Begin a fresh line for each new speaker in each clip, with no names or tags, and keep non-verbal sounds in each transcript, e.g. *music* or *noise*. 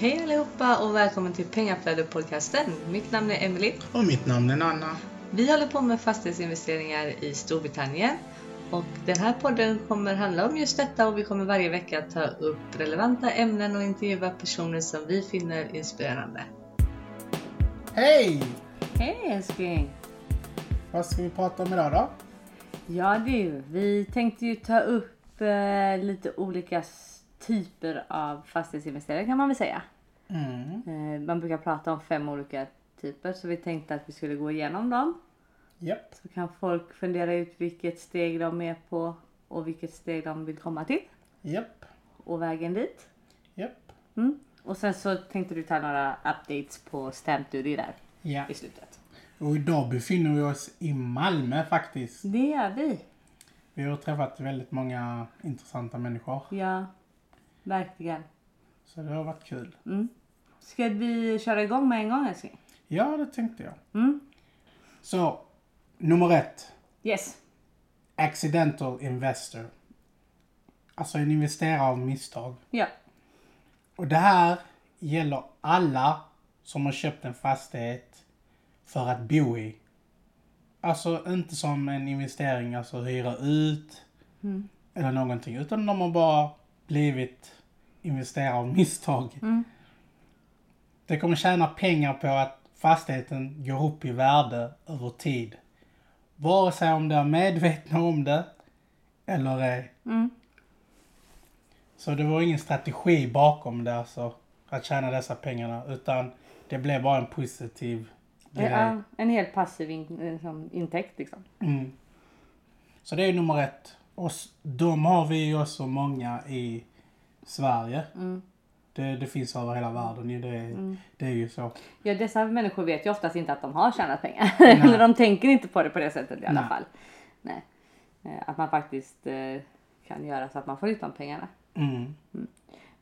Hej allihopa och välkommen till Pengaflödet-podcasten. Mitt namn är Emily.
Och mitt namn är Nanna.
Vi håller på med fastighetsinvesteringar i Storbritannien och den här podden kommer handla om just detta och vi kommer varje vecka ta upp relevanta ämnen och intervjua personer som vi finner inspirerande.
Hej!
Hej älskling!
Vad ska vi prata om idag då?
Ja du, vi tänkte ju ta upp eh, lite olika s- typer av fastighetsinvesterare kan man väl säga.
Mm.
Eh, man brukar prata om fem olika typer så vi tänkte att vi skulle gå igenom dem.
Japp.
Så kan folk fundera ut vilket steg de är på och vilket steg de vill komma till
Japp.
och vägen dit.
Japp.
Mm. Och sen så tänkte du ta några updates på stamp duty där
Ja.
i slutet.
Och idag befinner vi oss i Malmö faktiskt.
Det gör vi!
Vi har träffat väldigt många intressanta människor.
Ja, verkligen.
Så det har varit kul.
Ska vi köra igång med en gång älskling?
Ja, det tänkte jag.
Mm.
Så, nummer ett.
Yes!
Accidental investor. Alltså en investerare av misstag.
Ja.
Och det här gäller alla som har köpt en fastighet för att bo i. Alltså inte som en investering, alltså hyra ut eller någonting. Utan de har bara blivit investerare av misstag. Det kommer tjäna pengar på att fastigheten går upp i värde över tid. Vare sig om de är medvetna om det eller ej. Så det var ingen strategi bakom det alltså. Att tjäna dessa pengarna. Utan det blev bara en positiv grej.
Ja, en helt passiv in, eh, som intäkt liksom.
Mm. Så det är nummer ett. Och s- de har vi ju också många i Sverige. Det, det finns över hela världen ju. Det, det är ju så.
Ja, dessa människor vet ju oftast inte att de har tjänat pengar. *laughs* Eller de tänker inte på det på det sättet i alla
Nej.
fall. Nej. Eh, Att man faktiskt eh, kan göra så att man får ut de pengarna.
Mm.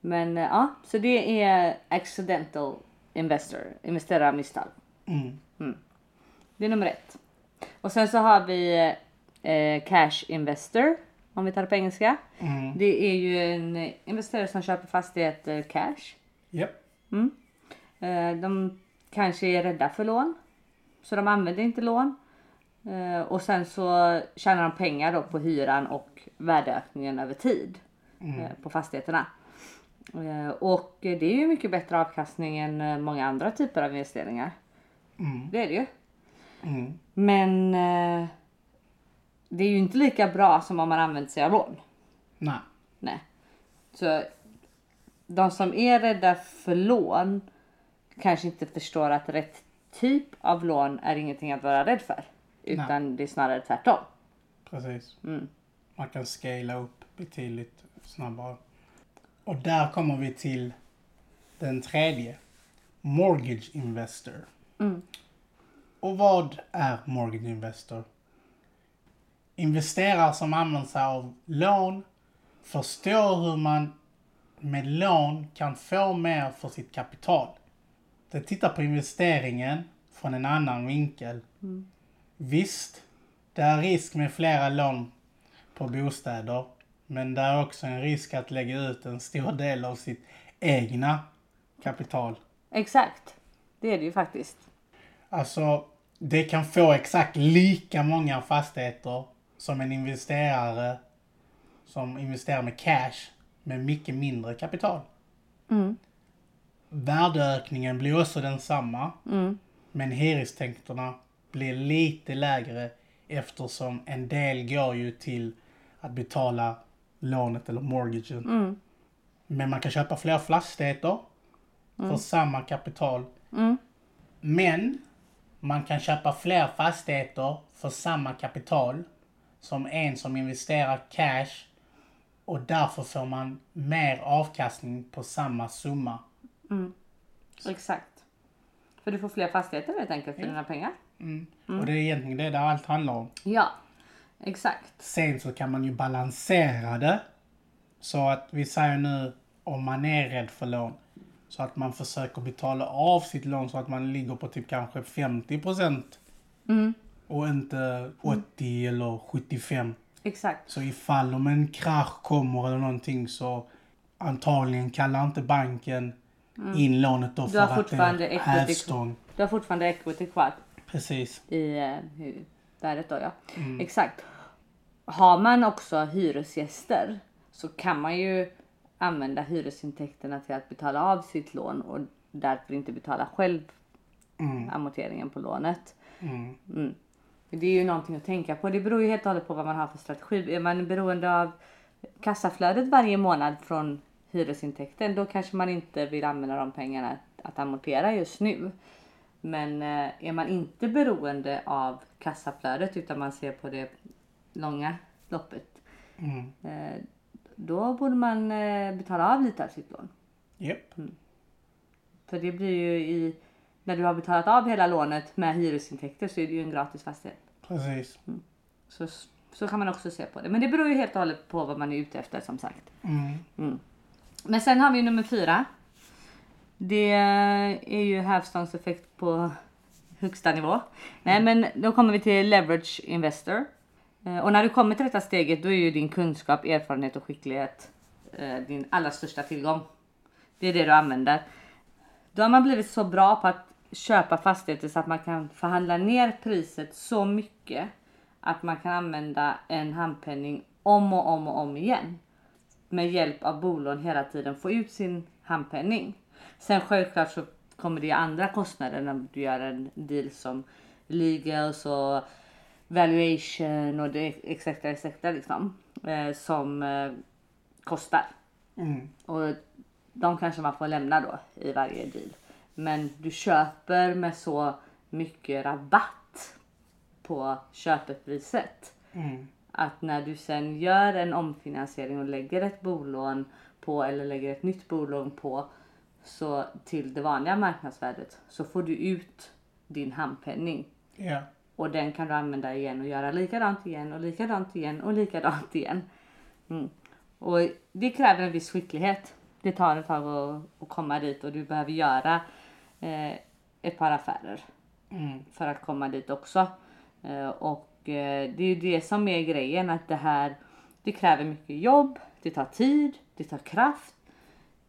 Men eh, ja, så det är accidental investor. Investera av misstag.
Mm.
Det är nummer ett. Och sen så har vi eh, cash investor. Om vi tar det på engelska.
Mm.
Det är ju en investerare som köper fastigheter cash.
Japp.
Eh, De kanske är rädda för lån. Så de använder inte lån. Eh, Och sen så tjänar de pengar då på hyran och värdeökningen över tid eh, på fastigheterna. Eh, Och det är ju mycket bättre avkastning än eh, många andra typer av investeringar.
Mm.
Det är det ju.
Mm.
Men eh, det är ju inte lika bra som om man använder sig av lån.
Nej.
Nej. Så de som är rädda för lån kanske inte förstår att rätt typ av lån är ingenting att vara rädd för. Utan det är snarare tvärtom.
Precis.
Mm.
Man kan scala upp betydligt snabbare. Och där kommer vi till den tredje. Mortgage Investor.
Mm.
Och vad är Mortgage Investor? Investerare som använder sig av lån förstår hur man med lån kan få mer för sitt kapital. De tittar på investeringen från en annan vinkel. Visst, det är risk med flera lån på bostäder. Men det är också en risk att lägga ut en stor del av sitt egna kapital.
Exakt. Det är det ju faktiskt.
Alltså, det kan få exakt lika många fastigheter som en investerare som investerar med cash med mycket mindre kapital.
Mm.
Värdeökningen blir också densamma.
Mm.
Men hyrestänkterna blir lite lägre eftersom en del går ju till att betala lånet eller mortgagen.
Mm.
Men man kan köpa fler fastigheter för samma kapital.
Mm.
Men man kan köpa fler fastigheter för samma kapital som en som investerar cash och därför får man mer avkastning på samma summa.
Exakt. För du får fler fastigheter helt enkelt för dina pengar.
Och det är egentligen det där allt handlar om.
Ja. Exakt.
Sen så kan man ju balansera det. Så att vi säger nu om man är rädd för lån. Så att man försöker betala av sitt lån så att man ligger på typ kanske 50 procent. Och inte 80 eller 75.
Exakt.
Så ifall om en krasch kommer eller någonting så antagligen kallar inte banken in lånet då
Mm. Du
för
har
att det
fortfarande
är
equity-
hävstång.
Du har fortfarande equity kvar
Precis.
i eh, hu- värdet då ja. Exakt. Har man också hyresgäster så kan man ju använda hyresintäkterna till att betala av sitt lån och därför inte betala själv amorteringen på lånet.
Mm.
Det är ju någonting att tänka på. Det beror ju helt och hållet på vad man har för strategi. Är man beroende av kassaflödet varje månad från hyresintäkten då kanske man inte vill använda de pengarna att amortera just nu. Men eh, är man inte beroende av kassaflödet utan man ser på det långa loppet
Mm.
eh, då borde man eh, betala av lite av sitt lån.
Japp.
Mm. För det blir ju i när du har betalat av hela lånet med hyresintäkter så är det ju en gratis fastighet.
Precis.
Så, så kan man också se på det. Men det beror ju helt och hållet på vad man är ute efter som sagt.
Mm.
Men sen har vi nummer fyra. Det är ju hävstångseffekt på högsta nivå. Nej men då kommer vi till leverage investor. Eh, Och när du kommer till detta steget då är ju din kunskap, erfarenhet och skicklighet eh, din allra största tillgång. Det är det du använder. Då har man blivit så bra på att köpa fastigheter så att man kan förhandla ner priset så mycket att man kan använda en handpenning om och om och om igen med hjälp av bolån hela tiden få ut sin handpenning. Sen självklart så kommer det ju andra kostnader när du gör en deal som legals och valuation och det etc. etc liksom, eh, som eh, kostar.
Mm.
Och de kanske man får lämna då i varje deal. Men du köper med så mycket rabatt på köpepriset
Mm.
att när du sen gör en omfinansiering och lägger ett bolån på eller lägger ett nytt bolån på så till det vanliga marknadsvärdet så får du ut din handpenning
Ja.
och den kan du använda igen och göra likadant igen och likadant igen och likadant igen. Mm. Och det kräver en viss skicklighet. Det tar ett tag att, att komma dit och du behöver göra eh, ett par affärer
Mm.
för att komma dit också. Eh, och eh, det är ju det som är grejen att det här det kräver mycket jobb, det tar tid, det tar kraft.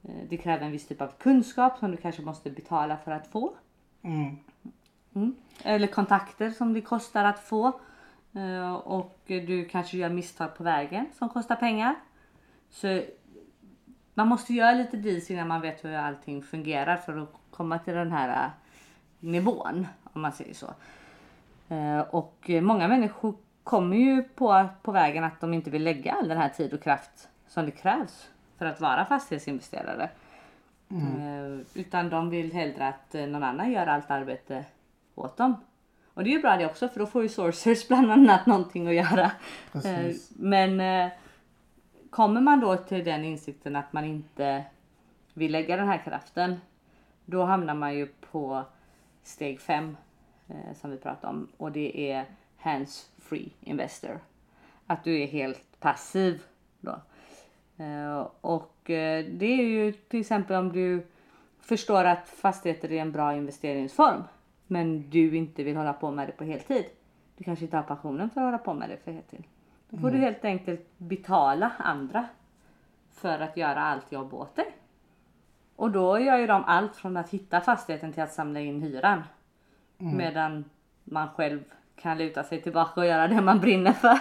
Eh, det kräver en viss typ av kunskap som du kanske måste betala för att få.
Mm.
Mm. Eller kontakter som det kostar att få. Eh, Och du kanske gör misstag på vägen som kostar pengar. Så man måste göra lite deals innan man vet hur allting fungerar för att komma till den här eh, nivån om man säger så. Eh, Och eh, många människor kommer ju på, på vägen att de inte vill lägga all den här tid och kraft som det krävs för att vara fastighetsinvesterare. Eh, Utan de vill hellre att eh, någon annan gör allt arbete åt dem. Och det är ju bra det också för då får ju sourcers *laughs* bland annat någonting att göra. Eh,
Precis.
Men eh, kommer man då till den insikten att man inte vill lägga den här kraften. Då hamnar man ju på steg 5 eh, som vi pratade om och det är hands free investor. Att du är helt passiv då. Eh, och eh, det är ju till exempel om du förstår att fastigheter är en bra investeringsform men du inte vill hålla på med det på heltid. Du kanske inte har passionen för att hålla på med det för heltid. Då får du helt enkelt betala andra för att göra allt jobb åt dig. Och då gör ju de allt från att hitta fastigheten till att samla in hyran. Medan man själv kan luta sig tillbaka och göra det man brinner för.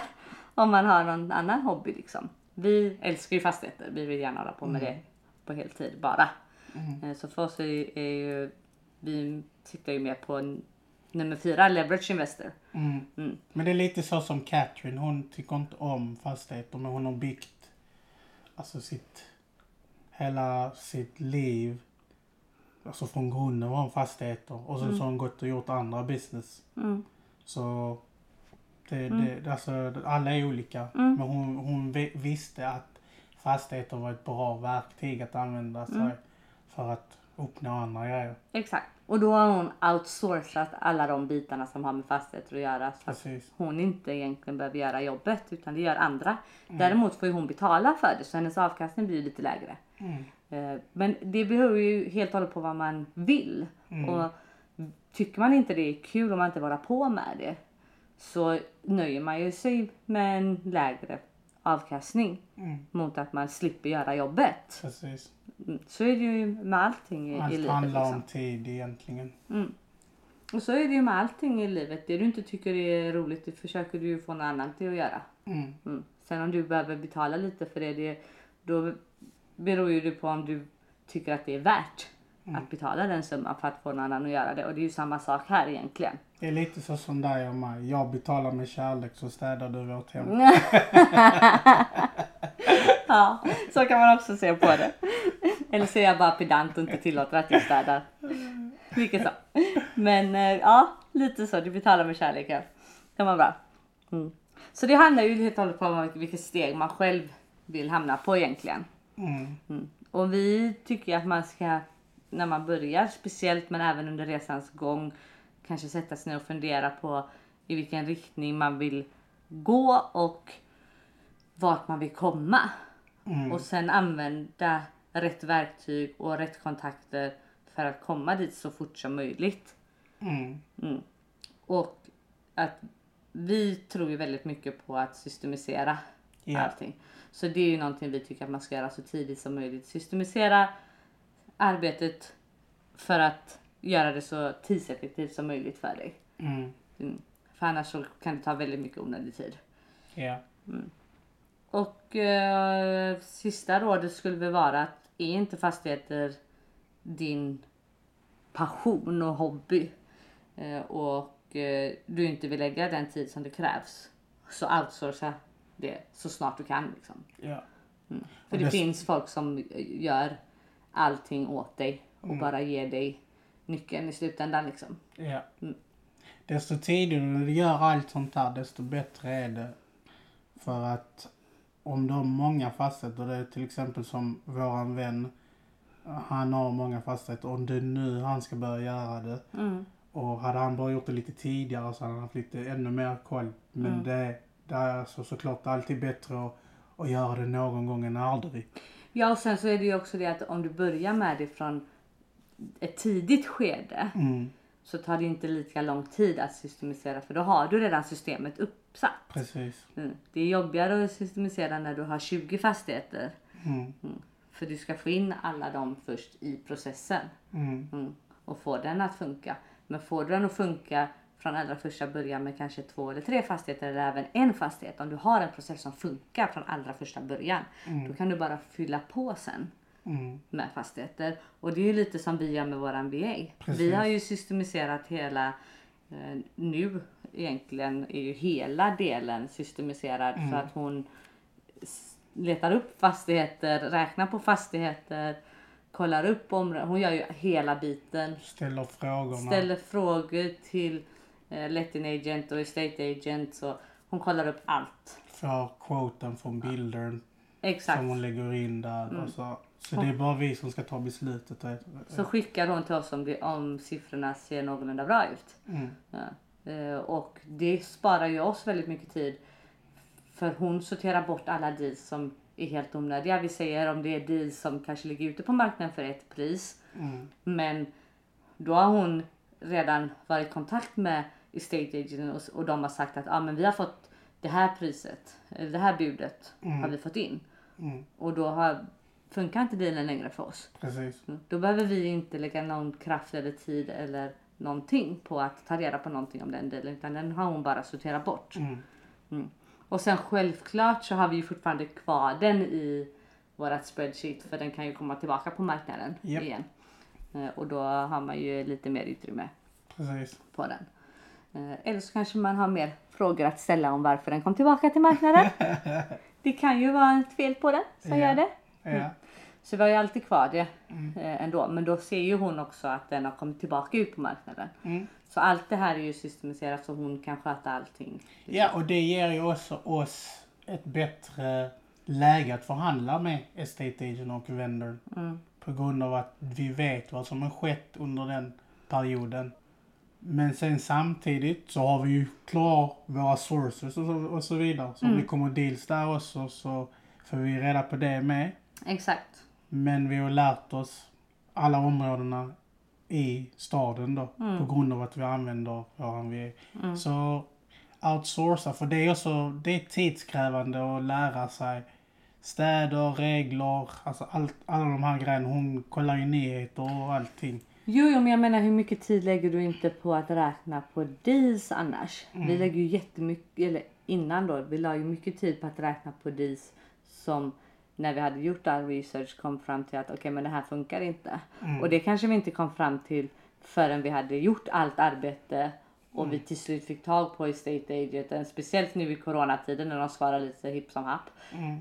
Om man har någon annan hobby liksom. Vi älskar ju fastigheter. Vi vill gärna hålla på med det på heltid bara. Eh, Så för oss är, är ju, vi siktar ju mer på n- nummer fyra, leverage investor.
Mm.
Mm.
Men det är lite så som Katrin, hon tycker inte om fastigheter men hon har byggt alltså sitt, hela sitt liv alltså från grunden var hon fastigheter och sen så har hon gått och gjort andra business.
Mm.
Så det, det, alltså, alla är olika
Mm.
men hon, hon vi- visste att fastigheter var ett bra verktyg att använda sig
Mm.
för att uppnå andra grejer.
Exakt. Och då har hon outsourcat alla de bitarna som har med fastigheter att göra. Så att
Precis.
hon inte egentligen behöver göra jobbet utan det gör andra.
Mm.
Däremot får ju hon betala för det så hennes avkastning blir ju lite lägre.
Mm.
Eh, Men det beror ju helt och hållet på vad man vill.
Mm.
Och tycker man inte det är kul om man inte vill hålla på med det så nöjer man ju sig med en lägre avkastning
Mm,
mot att man slipper göra jobbet.
precis.
Mm, Så är det ju med allting i, i
Allt
livet.
handlar
Liksom.
om tid egentligen.
Och så är det ju med allting i livet. Det du inte tycker är roligt det försöker du ju få någon annan till att göra.
Mm,
Mm. Sen om du behöver betala lite för det, det då beror ju det på om du tycker att det är värt att betala den summan för att få någon annan att göra det. Och det är ju samma sak här egentligen.
det är lite så som dig och mig. Jag betalar med kärlek så städar du vårt hem.
*laughs* Ja, så kan man också se på det. Eller så är jag bara pedant och inte tillåter att jag städar. Vilket så. Men eh, ja, lite så. Du betalar med kärleken. Det var bra. Mm. Så det handlar ju helt och hållet om vilket steg man själv vill hamna på egentligen.
Mm,
Mm. Och vi tycker att man ska, när man börjar, speciellt men även under resans gång, kanske sätta sig ner och fundera på i vilken riktning man vill gå och vart man vill komma. Och sen använda rätt verktyg och rätt kontakter för att komma dit så fort som möjligt.
mm,
Och att vi tror ju väldigt mycket på att systemisera
Ja.
allting. Så det är ju någonting vi tycker att man ska göra så tidigt som möjligt. Systemisera arbetet för att göra det så tidseffektivt som möjligt för dig.
mm,
Mm. För annars så kan det ta väldigt mycket onödig tid.
ja.
Och eh, sista rådet skulle väl vara att är inte fastigheter din passion och hobby eh, och eh, du inte vill lägga den tid som det krävs så outsourca det så snart du kan. Liksom.
ja.
För det,
det-
finns folk som eh, gör allting åt dig och bara ger dig nyckeln i slutändan. Liksom.
Ja. Mm. Desto tidigare du gör allt sånt här, desto bättre är det. För att om du har många fastigheter, det är till exempel som våran vän, han har många fastigheter. Om det är nu han ska börja göra det. Och hade han bara gjort det lite tidigare så hade han haft lite ännu mer koll. Men det, det är så, såklart alltid bättre att, att göra det någon gång än aldrig.
Ja och sen så är det ju också det att om du börjar med det från ett tidigt skede
Mm,
så tar det inte lika lång tid att systemisera för då har du redan systemet uppsatt.
precis.
Mm. Det är jobbigare att systemisera när du har 20 fastigheter.
Mm,
För du ska få in alla dem först i processen
mm,
mm. och få den att funka. Men får du den att funka från allra första början med kanske två eller tre fastigheter eller även en fastighet. Om du har en process som funkar från allra första början. Då kan du bara fylla på sen
mm,
med fastigheter. Och det är ju lite som vi gör med våran VA. Vi
Precis.
har ju systemiserat hela eh, nu egentligen är ju hela delen systemiserad
Mm.
så att hon s- letar upp fastigheter, räknar på fastigheter, kollar upp områden. Hon gör ju hela biten.
ställer frågorna.
Ställer frågor till eh, letting agent och estate agent. Så hon kollar upp allt.
för quoten från bildern
Exakt.
som hon lägger in där. Och så. så det är bara vi som ska ta beslutet. och-
Så skickar hon till oss om, det, om siffrorna ser någorlunda bra ut.
Mm.
Ja. Eh, Och det sparar ju oss väldigt mycket tid. För hon sorterar bort alla deals som är helt onödiga. Vi säger om det är deals som kanske ligger ute på marknaden för ett pris.
Mm,
Men då har hon redan varit i kontakt med estate agenten och, och de har sagt att ah, men vi har fått det här priset, eller det här budet har vi fått in.
mm.
Och då har, funkar inte dealen längre för oss.
Precis.
Mm. Då behöver vi inte lägga någon kraft eller tid eller någonting på att ta reda på någonting om den delen utan den har hon bara sorterat bort.
Mm.
Mm. Och sen självklart så har vi ju fortfarande kvar den i vårat spreadsheet för den kan ju komma tillbaka på marknaden
Japp.
igen. Eh, Och då har man ju lite mer utrymme
Precis.
på den. Eh, Eller så kanske man har mer frågor att ställa om varför den kom tillbaka till
*laughs*
marknaden. det kan ju vara ett fel på den som
Ja.
gör det.
Ja.
Så vi har ju alltid kvar det eh, ändå. Men då ser ju hon också att den har kommit tillbaka ut på marknaden.
mm.
Så allt det här är ju systematiserat så hon kan sköta allting.
ja, och det ger ju också oss ett bättre läge att förhandla med estate agent och vendor. På grund av att vi vet vad som har skett under den perioden. Men sen samtidigt så har vi ju klar våra sources och så, och så vidare. Så om det kommer deals där också så får vi reda på det med.
Exakt.
Men vi har lärt oss alla områdena i staden då. På grund av att vi använder våran vi Så outsourca. För det är också det är tidskrävande att lära sig städer, regler, alltså allt, alla de här grejerna. Hon kollar ju nyheter och allting.
Jo, jo, men jag menar hur mycket tid lägger du inte på att räkna på deals annars? Vi lägger ju jättemycket, eller innan då, vi la ju mycket tid på att räkna på deals som när vi hade gjort all research kom fram till att okej, men det här funkar inte. Och det kanske vi inte kom fram till förrän vi hade gjort allt arbete och vi till slut fick tag på estate agenten, speciellt nu i coronatiden när de svarar lite hipp som happ.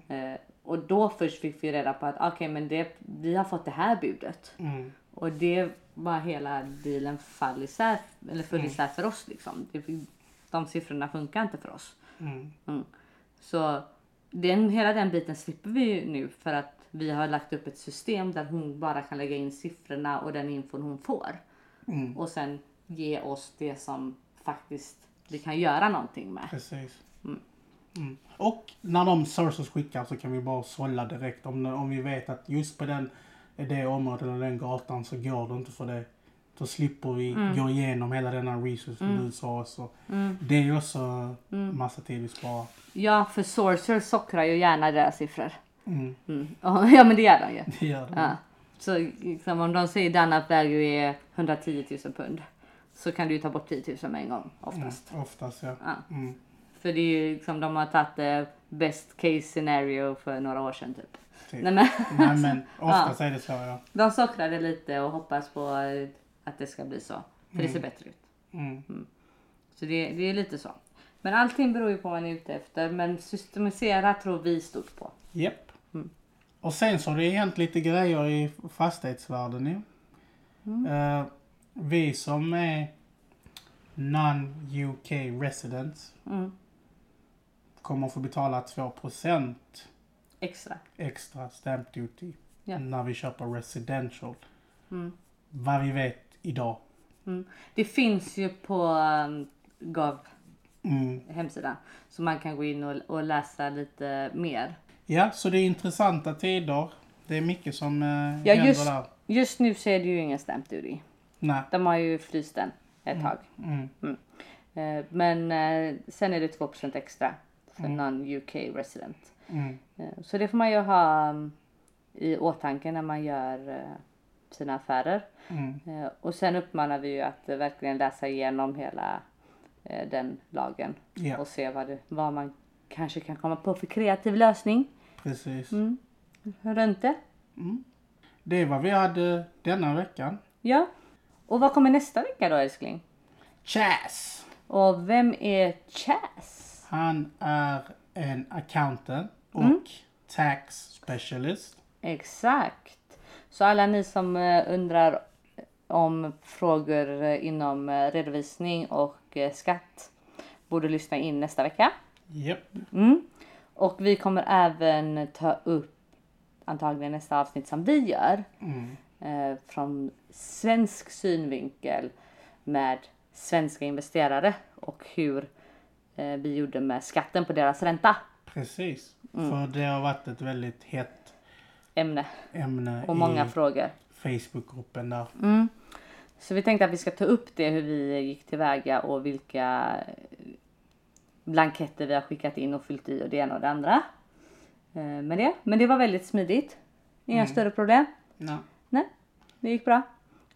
Eh, och då först fick vi reda på att okej, men det, vi har fått det här budet.
Mm.
Och det var hela dealen fall isär, eller föll
Mm.
isär för oss liksom. Det, de siffrorna funkar inte för oss.
Mm.
Mm. Så den, hela den biten slipper vi ju nu för att vi har lagt upp ett system där hon bara kan lägga in siffrorna och den infon hon får.
Mm.
Och sen ge oss det som faktiskt vi kan göra någonting med.
Precis. Mm. Och när de sources skickar så kan vi bara sålla direkt. Om, om vi vet att just på den, det området eller den gatan så går det inte för det. Då slipper vi
Mm.
gå igenom hela denna research som du sa. Så Det är ju också
Mm.
massa tid vi sparar.
Ja, för sourcer sockrar ju gärna deras siffror.
Mm. *laughs*
Mm. *laughs* Ja, men det gör de ju.
Det gör det.
Ja. Så liksom, om de säger Danap väger är 110 000 pund så kan du ju ta bort 10 000 med en gång oftast.
Mm. Oftast ja.
Ja.
Mm.
För det är ju liksom de har tagit eh, best case scenario för några år sedan typ. Nej,
Typ.
men, *laughs*
Nej men oftast är det så ja.
de sockrade lite och hoppas på eh, att det ska bli så. För det ser bättre ut.
Mm.
Så det, det är lite så. Men allting beror ju på vad man är ute efter. Men systemisera tror vi stort på.
Japp.
Mm.
Och sen så har det hänt lite grejer i fastighetsvärlden ju.
Mm.
Eh, vi som är non-UK residents
Mm.
kommer få betala 2%
Extra.
extra stamp duty
Ja.
när vi köper residential.
Mm.
Vad vi vet idag.
Mm. Det finns ju på um, GOV
Mm.
hemsidan. Så man kan gå in och, och läsa lite mer.
Ja, så det är intressanta tider. Det är mycket som eh,
Ja,
händer
just,
där.
just nu så är det ju ingen stamp duty.
Nej.
De har ju fryst den ett tag.
Mm.
Eh, Men eh, sen är det 2% extra för non-UK resident.
Mm.
Eh, Så det får man ju ha mm, i åtanke när man gör eh, sina affärer.
Mm.
Eh, Och sen uppmanar vi ju att eh, verkligen läsa igenom hela eh, den lagen
Ja.
och se vad, det, vad man kanske kan komma på för kreativ lösning Mm.
Precis.
runt det.
Det är vad vi hade denna veckan.
Ja. Och vad kommer nästa vecka då älskling?
Chas!
Och vem är Chas?
Han är en accountant och
Mm.
tax specialist.
Exakt. Så alla ni som eh, undrar om frågor eh, inom eh, redovisning och eh, skatt borde lyssna in nästa vecka.
Japp.
Mm. Och vi kommer även ta upp antagligen nästa avsnitt som vi gör
Mm.
eh, från svensk synvinkel med svenska investerare och hur eh, vi gjorde med skatten på deras ränta.
Precis.
Mm.
För det har varit ett väldigt hett
Ämne
ämne
och många Mm.
i
frågor.
Facebookgruppen där.
Så vi tänkte att vi ska ta upp det hur vi gick tillväga och vilka blanketter vi har skickat in och fyllt i och det ena och det andra. Eh, Med det. Men det var väldigt smidigt. Inga
Mm.
större problem.
Ja.
Nej, det gick bra.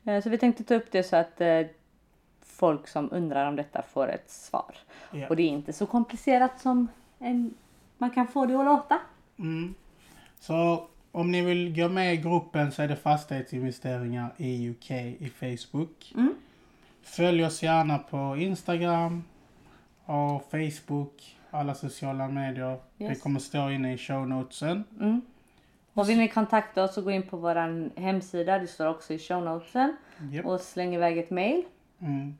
Eh, Så vi tänkte ta upp det så att eh, folk som undrar om detta får ett svar.
Ja.
Och det är inte så komplicerat som en, man kan få det att låta.
Mm. Så om ni vill gå med i gruppen så är det fastighetsinvesteringar i UK i Facebook.
Mm.
Följ oss gärna på Instagram och Facebook, alla sociala medier. Det
Yes.
kommer stå inne i show notesen.
Och vill ni kontakta oss så gå in på vår hemsida. Det står också i show notesen.
Japp.
Och släng iväg ett mail.
Mm.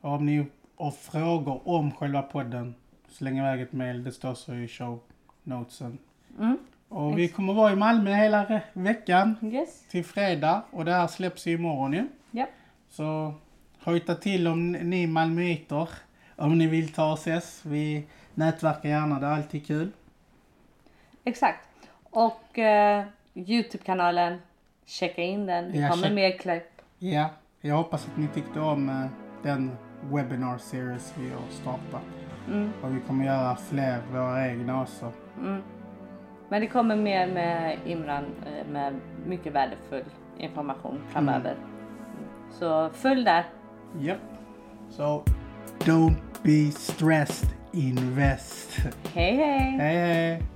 Och om ni har frågor om själva podden, släng iväg ett mejl. Det står så i show notesen.
Mm.
Och vi kommer vara i Malmö hela re- veckan
Yes.
till fredag och det här släpps ju imorgon ju.
Ja.
Så hojta till om ni malmöiter, om ni vill ta oss ses. Vi nätverkar gärna, det är alltid kul.
Exakt. Och eh, Youtube-kanalen. Checka in den. Det
Ja,
kommer
check-
mer klipp.
Ja, jag hoppas att ni tyckte om eh, den webinar series vi har startat.
Mm.
Och vi kommer göra fler våra egna också.
Mm. Men det kommer mer med Imran eh, med mycket värdefull information framöver.
Mm.
Så följ där.
Yep. So don't be stressed, invest.
Hej hej!
Hej hej!